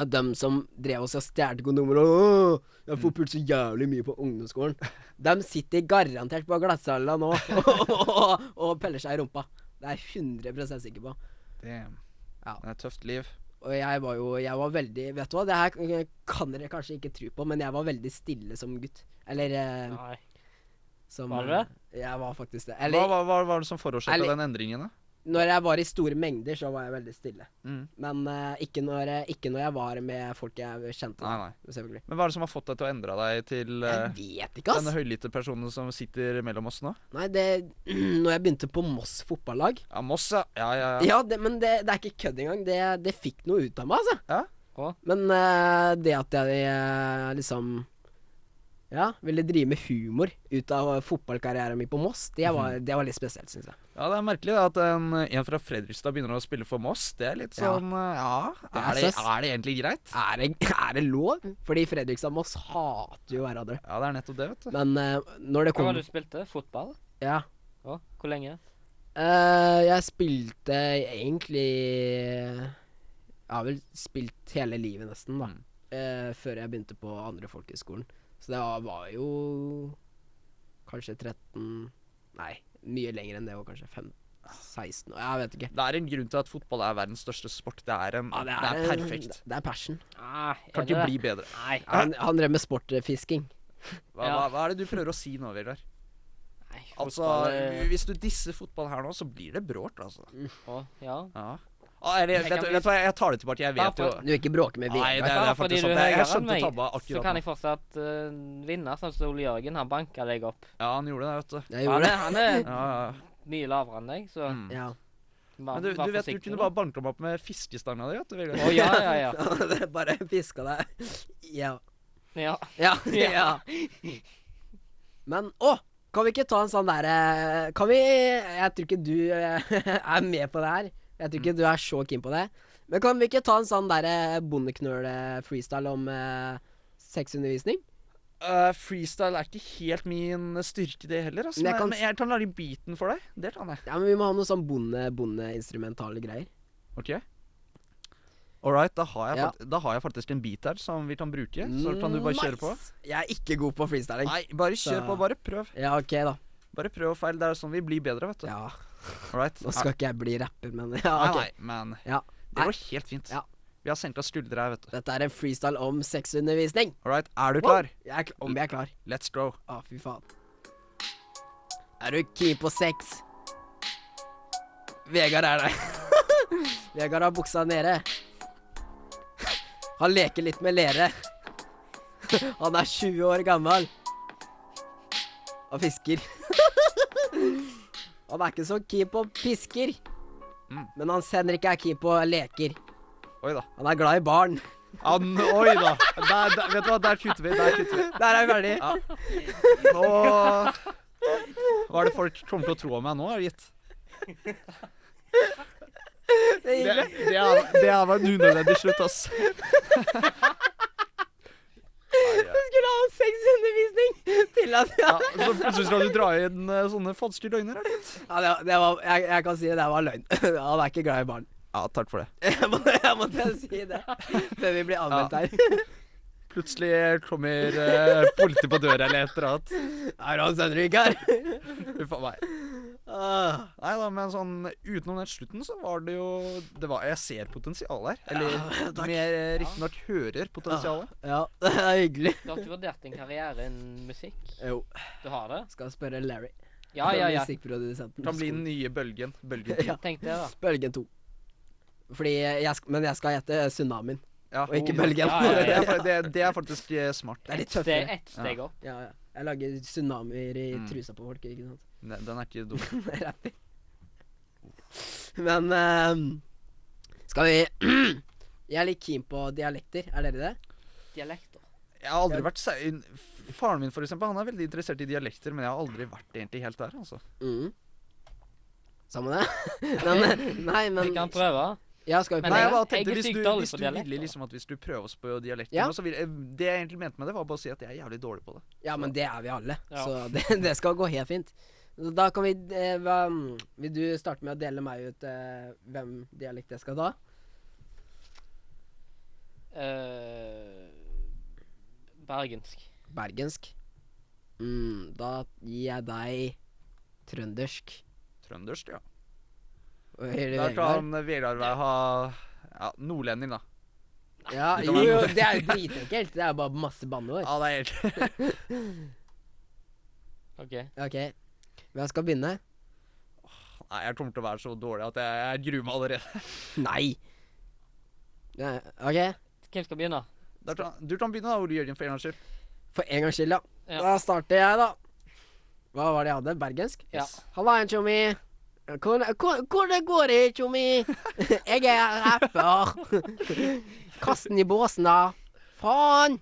At dem som drev oss og stjal kondomer og «Åh, Jeg får pult så jævlig mye på ungdomsskolen. Dem sitter garantert på glattcella nå og, og, og peller seg i rumpa. Det er jeg 100 sikker på.
Damn.
Ja.
Det er et tøft liv.
Og jeg var jo jeg var veldig Vet du hva, det her k- kan dere kanskje ikke tro på, men jeg var veldig stille som gutt. Eller eh,
nei.
som
Var du det?
Jeg var faktisk det.
Hva,
Eller
hva, hva var det som forårsaka
Eller-
den endringen, da?
når jeg var i store mengder, så var jeg veldig stille.
Mm.
Men eh, ikke, når, jeg- ikke når jeg var med folk jeg kjente.
Nei,
da,
nei.
Selvfølgelig.
Men hva er det som har fått deg til å endre deg til
Jeg
eh,
vet ikke,
denne
ass.
høylytte personen som sitter mellom oss nå?
Nei, det Når jeg begynte på Moss fotballag
Ja, Moss, ja. Ja, ja, ja.
Ja, det, men det, det er ikke kødd engang. Det, det fikk noe ut av meg, altså.
Ja.
Hva?
Men eh, det at jeg eh, liksom Ja, ville drive med humor ut av fotballkarrieren min på Moss, det var,
Mhm.
det var litt spesielt, syns jeg.
Ja, det er merkelig da, at en, en fra Fredrikstad begynner å spille for Moss. Det er litt
Ja.
sånn eh, Ja,
Det er
er det,
søs.
er det egentlig greit?
Er det, er det lov? Fordi Fredrikstad og Moss hater jo hverandre.
Ja, det er nettopp det, vet du.
Men eh, når det
Hva var
kom
det du spilte? Fotball?
Ja.
Ja. Hvor lenge?
Eh, jeg spilte egentlig eh, Jeg har vel spilt hele livet, nesten, da.
Mm.
Eh, før jeg begynte på andre folkehøgskolen. Så det var- var jo kanskje 13 Nei, mye lenger enn det var kanskje 15. 16 år, jeg vet ikke.
Det er en grunn til at fotball er verdens største sport. Det er, en,
Ja,
det er perfekt.
Det er passion.
Ah, er
Kan
det
ikke
det?
bli bedre.
Nei.
Han, han drev med sportfisking.
Hva, hva,
Ja.
hva er det du prøver å si nå, Vegard?
nei
Altså,
fotball, eh,
hvis du disser fotball her nå, så blir det brått, altså.
eh,
å, ja.
Ja. Ah, er det,
Jeg
vet,
kan
du-
bli-
vet du hva, jeg tar det tilbake. Jeg vet jo
Bare
Du vil ikke bråke med
Nei, det
Vegard.
er, det
Bare
er
fordi
faktisk
du
sant.
er
Jeg, jeg
høyere enn
skjønte
meg,
tabba
Så
akkurat
kan
nå.
jeg fortsatt eh, vinne, sånn som Ole Jørgen. Han banka deg opp.
Ja, han gjorde det, vet du.
Jeg
Han
gjorde
er,
det.
han er
Ja, ja.
mye lavere enn deg, så
Mm.
Ja.
bare,
Men du,
bare
du vet, du
forsiktig
kunne
nå.
bare banke dem opp med fiskestanga di, vet du.
Å
Vegard.
ja, ja, ja.
Det Bare fiska deg. Ja.
ja.
Ja. ja. Men å! Kan vi ikke ta en sånn derre Kan vi Jeg tror ikke du eh, er med på det her. Jeg tror ikke du er så keen på det. Men kan vi ikke ta en sånn derre bondeknøl-freestyle om eh, sexundervisning?
Eh, freestyle er ikke helt min styrke, det heller. Altså.
Men jeg
Men, jeg
kan
men jeg kan lage beaten for deg. Det kan jeg.
Ja, men vi må ha noe sånn bonde bondeinstrumentale greier.
Ok All right, da har, jeg
Ja. Mm,
fakt- da har jeg faktisk en beat her som vi kan bruke. Så kan du bare kjøre på.
Nice. Jeg er ikke god på freestyling.
Nei, bare kjør
Så-
på. Bare prøv.
Ja, OK, da.
Bare prøv og feil. Det er sånn vi blir bedre, vet du.
Ja,
All right.
Nå skal ikke jeg bli rapper, men ja,
Nei,
OK.
nei, men
Ja.
det går helt fint.
Ja.
Vi har senka skuldre her, vet du.
Dette er en freestyle om sexundervisning.
All right, er du klar?
Jeg er kl om jeg er klar.
Let's go.
Å, fy faen. Er du keen på sex? Vegard er der. Vegard har buksa nede. Han leker litt med lere. Han er 20 år gammel. Og fisker. Han er ikke så keen på pisker.
Mm.
Men Hans Henrik er keen på leker.
Oi da.
Han er glad i barn.
Ja, n- oi da. Der, der, vet du hva, der kutter vi. Der kutter vi.
Der er vi ferdig.
Ja. Nå Hva er det folk kommer til å tro om meg nå, er det gitt?
Det gikk bra.
det er- det her var en unødvendig slutt, ass.
Du skulle ha sexundervisning til at
Ja, så plutselig skal du dra inn eh, sånne falske løgner, eller?
Ja, det, det var, jeg, jeg kan si det, det var løgn. Han er ikke glad i barn.
Ja, takk for det.
Jeg måtte, jeg måtte si det før vi blir anmeldt her.
Plutselig kommer eh, politiet på døra eller et eller annet.
Er han Søndervik her? Ah,
Uff a meg.
Åh.
Nei da, men sånn utenom den slutten, så var det jo det var, Jeg ser potensial her. Eller
Ja, takk.
mer eh, riktignok hører potensialet.
Ja, det er hyggelig.
Du har ikke vurdert en karriere innen musikk?
Jo,
Du har det?
skal spørre Larry.
Ja, ja, ja.
Musikkprodusenten.
Kan bli den nye bølgen. Bølgen.
Ja.
Tenk det, da.
Bølgen 2. Fordi jeg, sk- men jeg skal hete Tsunamien,
Ja.
og ikke Bølgen.
Ja, ja,
Det
ja.
er, fa- det, det er faktisk eh, smart.
Det er litt
Ett steg,
tøffere.
ett steg opp.
Ja, ja. Jeg lager tsunamier i
Mm.
trusa på folk, ikke sant.
Den, den er ikke dum.
Rapper. Men ehm, skal vi Jeg er litt keen på dialekter, er dere det?
Dialekter.
Jeg har aldri vært sær- Faren min for eksempel, han er veldig interessert i dialekter, men jeg har aldri vært egentlig helt der. altså.
Mm. Sammen med det? Men, nei,
Vi
men
kan prøve.
Ja, skal vi
Men
prøve?
Nei,
jeg-
jeg bare
jeg
tenkte
er
Hvis
sykt
du,
dårlig
hvis
på
du ville
dialekter.
liksom at vi skulle prøve oss på dialekter
Ja.
nå, så ville, eh, Det jeg egentlig mente med det, var bare å si at jeg er jævlig dårlig på det.
Ja, men det er vi alle,
Ja.
så det, det skal gå helt fint. Da kan vi eh, hva, Vil du starte med å dele meg ut eh, hvem dialekt jeg skal ta?
Eh, bergensk.
Bergensk. Mm, da gir jeg deg trøndersk.
Trøndersk, ja.
Og hører du
Da
Vegard?
kan Vegard være- ha ja, nordlending, da.
Ja,
det
jo,
kan være
jo,
noe.
det er jo dritenkelt. Det er bare masse banneord.
Ja, det er helt
OK.
OK. Hvem skal begynne?
Nei, jeg kommer til å være så dårlig at jeg, jeg gruer meg allerede.
Nei! Nei, OK.
Hvem skal begynne?
Da kan, du kan begynne, da, Ole Jørgen, for en gangs skyld.
For en gangs skyld, ja.
Ja.
Da starter jeg, da. Hva var det jeg hadde? Bergensk?
Ja.
Halla, en tjommi. Hvor, hvor, hvor det går det, tjommi? Jeg er rapper. Kast den i båsen, da. Faen!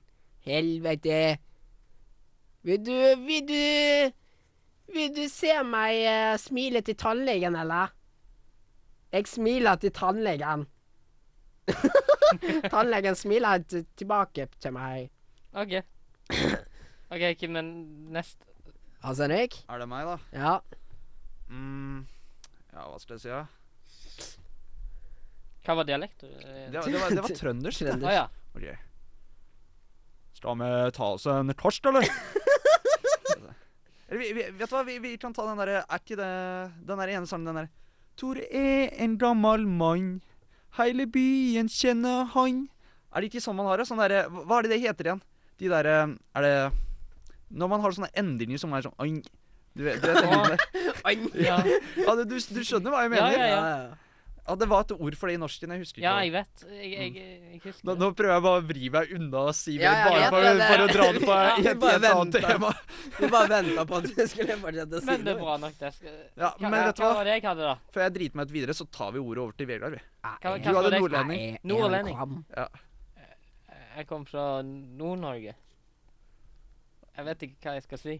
Helvete. Vil du Vil du Vil du se meg eh, smile til tannlegen, eller? Jeg smiler til tannlegen. tannlegen smiler til- tilbake til meg.
OK. OK, hvem er neste?
Hans Henrik?
Er det meg, da?
Ja.
Mm. Ja, hva skal jeg si, da?
Hva var dialekt? Eh,
Det, var- det, var- det var trøndersk. det.
Å ja.
Ok. Skal vi ta oss en torsk, eller? eh, eller vi, vi, vet du hva, vi, vi kan ta den derre Er ikke det den der ene sangen, den der Tor er en gammel mann. Heile byen kjenner han. Er det ikke sånn man har det? Sånn derre hva- Hva er det det heter igjen? De derre Er det Når man har sånne endringer som er sånn «Oi», Du vet, du vet den lyden der.
Oi.
Ja,
Ja, du, du, du skjønner hva jeg
Ja,
mener?
ja,
Ja,
Ja,
Det var et ord for det i norsken. Jeg husker ikke.
ja
hva det-
jeg vet. Jeg, jeg,
Nå,
jeg husker det.
nå prøver jeg bare å vri meg unna Simen,
Ja, jeg
bare
vet
for,
det, det-
for å dra det på
Ja,
i et
bare
helt annet
venter.
tema.
Vi bare venta på at du skulle fortsette å si
Men det er
noe.
bra nok, det. Skal,
Ja,
hva,
men vet du
hva
hva?
var det jeg hadde, da?
Før jeg driter meg ut videre, så tar vi ordet over til Vegard. vi.
Hva,
Du
hva
hadde
var det?
nordlending.
Er- er
Nordlending.
han kam?
Jeg kom fra Nord-Norge. Jeg vet ikke hva jeg skal si.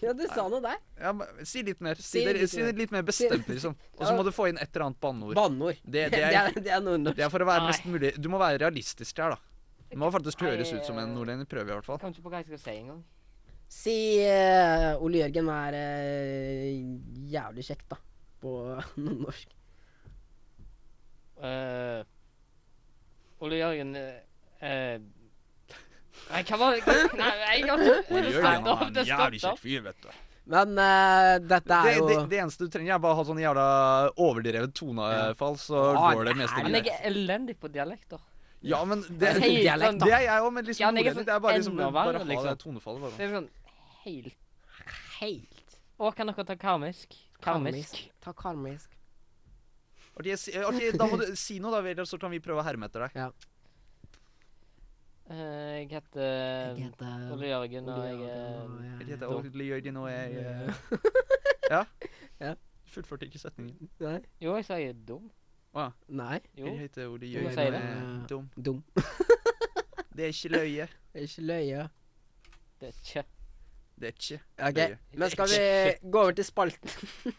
Ja, du sa nå der.
Ja, men, si litt mer. Si,
Si
det,
litt
si det
mer.
litt mer bestemt, liksom. Og så
Ja.
må du få inn et eller annet banneord.
Banneord.
Det- det
det,
er-
er- det er nordnorsk.
Det er for å være
Nei.
mest mulig Du må være realistisk her, da. Du må faktisk
Nei,
høres ut som en
eh,
nordlending. Prøve, i hvert fall.
Jeg kom ikke på hva jeg skal si engang.
Si eh, Ole Jørgen er eh, jævlig kjekk, da. På nordnorsk.
Eh, Ole Jørgen eh, eh, Nei, hva var det Nei, jeg kan ikke
Ole
Det
Jørgen,
stopper
han
opp,
er
det
en
stopper
jævlig kjekk
opp.
fyr, vet du.
Men eh, dette
Det,
er jo
det, det eneste du trenger, er bare å ha sånn jævla overdrevet tonefall, så
Ja,
går det meste
nei,
Men
greit.
jeg er elendig på dialekter.
Ja, men det,
Helt
det er
sånn,
da.
jeg òg, men
Ja,
liksom
men jeg er
nordlending. Det er bare liksom
enda
Bare
verre,
ha
liksom.
det tonefallet, bare.
Det er sånn helt
helt
Å, kan dere ta karmisk? Karmisk.
Ta karmisk.
Ok, si, ok, da må du si noe, da, Vegard, så kan vi prøve å herme etter
Mm,
deg.
Eh, jeg heter
Jeg heter
Ehm, Ole Jørgen, og
Ole
jeg eh,
Jørgen,
er
og
Jeg
jeg-
heter Ole Jørgen, og jeg eh, Ja?
Ja.
Fullførte ikke setningen.
Nei.
Jo, jeg sa jeg er dum.
Nei.
Jo.
Jeg heter Ole
Du må
Jørgen,
si
og
det.
jeg er dum.
Dum.
Det er ikke løye.
Det er ikke løye.
Det er kjø.
Det er ikke
OK,
løye.
men skal vi gå over til spalten?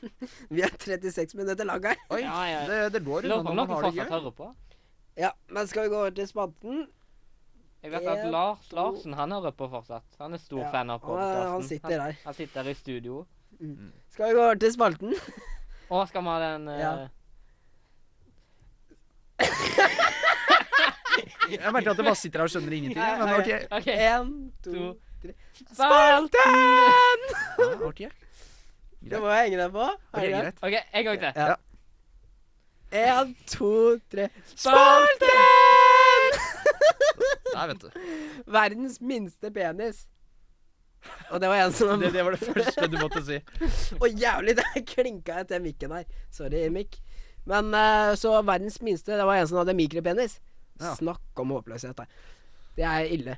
vi er 36 minutter lang her.
Oi,
Ja, ja.
Det, det går
Lurer
unna
på om
når man
noen
har det
fortsatt
gøy.
hører på.
Ja, men skal vi gå over til spalten?
Jeg vet at
En,
Lars
to-
Larsen han hører på fortsatt. Han er stor
Ja,
fan av
Han, er- han
podkasten.
sitter her.
Han sitter i studio.
Skal vi gå over til spalten?
Å, skal vi ha den eh,
Ja.
Jeg merker at jeg bare sitter her og skjønner ingenting. jeg, Men ok.
OK.
Én, to,
To.
tre
Spalten!
Ja, ok.
Det må jeg henge deg på. Er
Ok,
det greit?
greit.
OK, en gang til.
Ja. Én, to, tre
Spalten!
Nei, vet du.
Verdens minste penis. Og det var en som
Det, det var det første du måtte si.
Å, jævlig! Der klinka jeg til mikken her. Sorry, Mikk. Men eh, så verdens minste, det var en som hadde mikropenis.
Ja.
Snakk om håpløshet, da. Det er ille.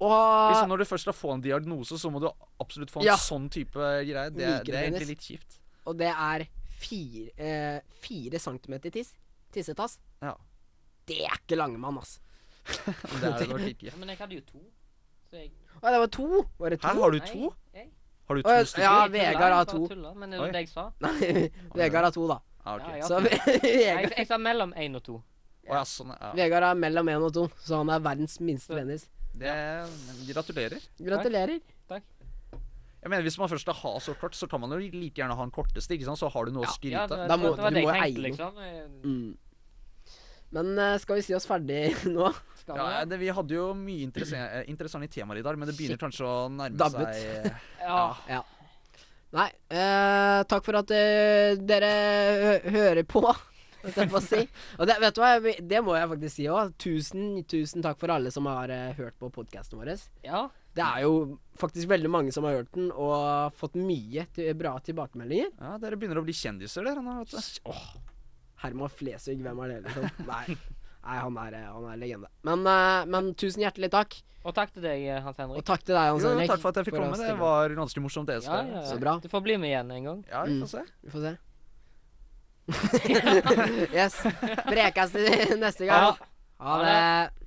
Og
Liksom Når du først skal få en diagnose, så må du absolutt få en
Ja.
sånn type greie. Det, det er
Mikropenis.
egentlig litt kjipt.
Og det er fire, eh, fire centimeter tiss. Tissetass.
Ja.
Det er ikke Langemann, ass.
Men Det er det nok ikke.
Ja, men jeg hadde jo to. Så jeg
Å, det var to! Var det to?
Hæ, har du
Nei,
to?
jeg-
Har du
Å,
to
ja,
stykker?
ja.
jeg tuller,
Vegard har
jeg bare
to.
tuller, Men det er
Oi.
jo det jeg sa.
Nei, Vegard har to, da.
Ah, ok.
Ja,
Å
ja.
Så
Jeg,
Vegard,
jeg sa mellom én og to.
ja, sånn. Ja.
Vegard er mellom én og to, så han er verdens minste penis.
Det, men gratulerer.
Gratulerer.
Jeg mener, Hvis man først skal ha så kort, så kan man jo like gjerne ha den korteste. ikke sant? Så har du noe å
Ja,
skryte
det,
av.
Da må-
det var
du
det
må eie
jeg tenkte,
noe.
liksom. Eh,
Mm. Men eh, skal vi si oss ferdig nå?
Skal
Ja,
vi det?
det, vi hadde jo mye interesse- eh, interessante temaer i dag, men det begynner kanskje å nærme
Dabbet.
seg eh,
Ja.
ja.
Nei. eh, takk for at eh, dere hø hører på. holdt Jeg får si. Og det, vet du hva, jeg- det må jeg faktisk si òg. Tusen, tusen takk for alle som har eh, hørt på podkasten vår.
ja.
Det er jo faktisk veldig mange som har hørt den og fått mye til, bra tilbakemeldinger.
Ja, dere begynner å bli kjendiser, dere nå. vet du.
Herman Flesvig, hvem er det? Liksom? Nei, Nei han, er, eh, han er legende. Men, eh, men tusen hjertelig takk.
Og takk til deg, eh, Hans
Og
Henrik.
takk til deg, Hans
Jo,
Henrik.
takk for at jeg fikk
å
komme. Det
stille opp.
var ganske morsomt. Det,
Ja,
skal
ja, Mm.
jeg.
ja.
Så bra.
Du får bli med igjen en gang.
ja, vi får se.
Vi får se. Yes. Brekes til neste
Ha
gang.
det.
Ha
Ha
det.